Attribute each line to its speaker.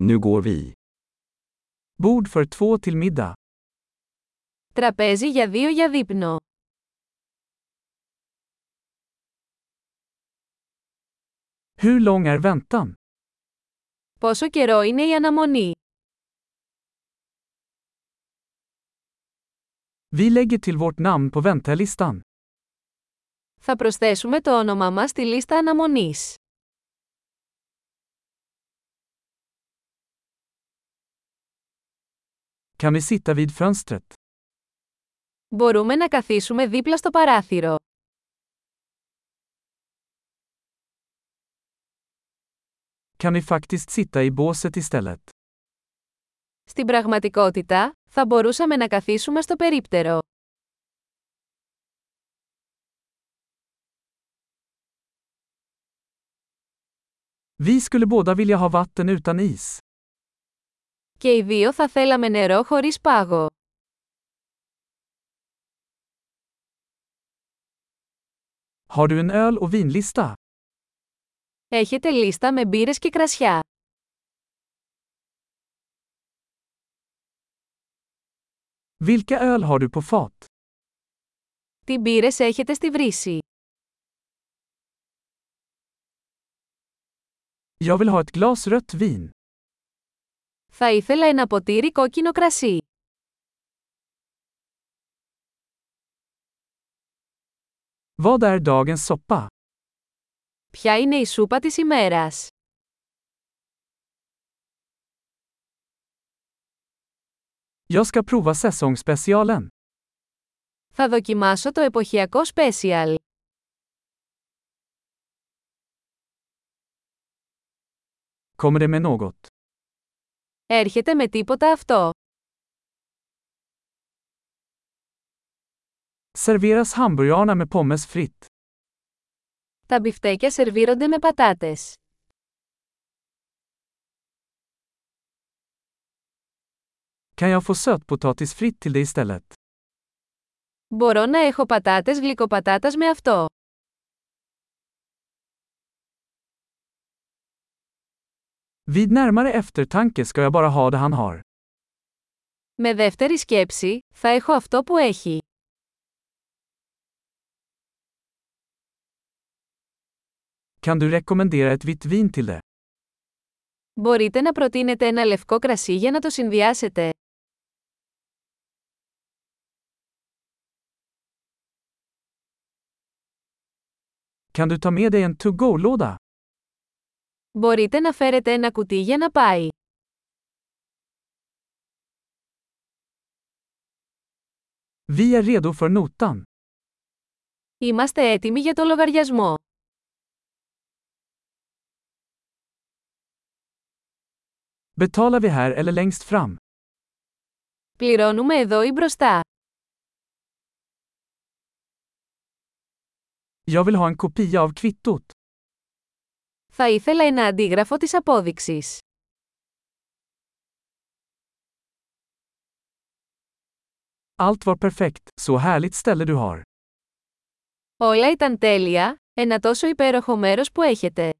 Speaker 1: Nu går vi.
Speaker 2: Bord för två till middag.
Speaker 3: Τραπέζι για δύο για δείπνο.
Speaker 2: Hur lång är väntan?
Speaker 3: Πόσο καιρό είναι η αναμονή.
Speaker 2: Vi lägger till vårt namn på väntelistan.
Speaker 3: Θα προσθέσουμε το όνομά μας στη λίστα αναμονής.
Speaker 2: Kan vi sitta vid fönstret?
Speaker 3: Μπορούμε να καθίσουμε δίπλα στο παράθυρο.
Speaker 2: Kan vi faktiskt sitta i båset istället?
Speaker 3: Στην πραγματικότητα, θα μπορούσαμε να καθίσουμε στο περίπτερο.
Speaker 2: Vi skulle båda vilja ha vatten utan is.
Speaker 3: Και οι δύο θα θέλαμε νερό χωρίς πάγο.
Speaker 2: Har du en öl och vinlista?
Speaker 3: Έχετε λίστα με μπύρες και κρασιά.
Speaker 2: Vilka öl har du på fat?
Speaker 3: Τι μπύρες έχετε στη βρύση.
Speaker 2: Jag vill ha ett glas rött vin.
Speaker 3: Θα ήθελα ένα ποτήρι κόκκινο κρασί.
Speaker 2: Vad är dagens soppa?
Speaker 3: Ποια είναι η σούπα της ημέρας.
Speaker 2: Jag ska prova säsongsspecialen.
Speaker 3: Θα δοκιμάσω το εποχιακό special.
Speaker 2: Kommer det med något?
Speaker 3: Έρχεται με τίποτα αυτό.
Speaker 2: Serveras hamburgarna med pommes fritt?
Speaker 3: Τα μπιφτέκια σερβίρονται με πατάτες.
Speaker 2: Kan jag få sötpotatis fritt till det istället?
Speaker 3: Μπορώ να έχω πατάτες γλυκοπατάτας με αυτό.
Speaker 2: Vid närmare eftertanke ska jag bara ha det han har.
Speaker 3: Με δεύτερη σκέψη, θα έχω αυτό που έχει.
Speaker 2: Kan du rekommendera ett vitt vin till det?
Speaker 3: Μπορείτε να προτείνετε ένα λευκό κρασί για να το συνδυάσετε.
Speaker 2: Kan du ta med dig en to-go-låda?
Speaker 3: Μπορείτε να φέρετε ένα κουτί για να πάει.
Speaker 2: Vi är redo för notan.
Speaker 3: Είμαστε έτοιμοι για το λογαριασμό.
Speaker 2: Betalar vi här eller längst fram?
Speaker 3: Πληρώνουμε εδώ ή μπροστά.
Speaker 2: Jag vill ha en kopia av kvittot.
Speaker 3: Θα ήθελα ένα αντίγραφο της απόδειξης.
Speaker 2: Allt var perfekt, så härligt ställe du har.
Speaker 3: Όλα ήταν τέλεια, ένα τόσο υπέροχο μέρος που έχετε.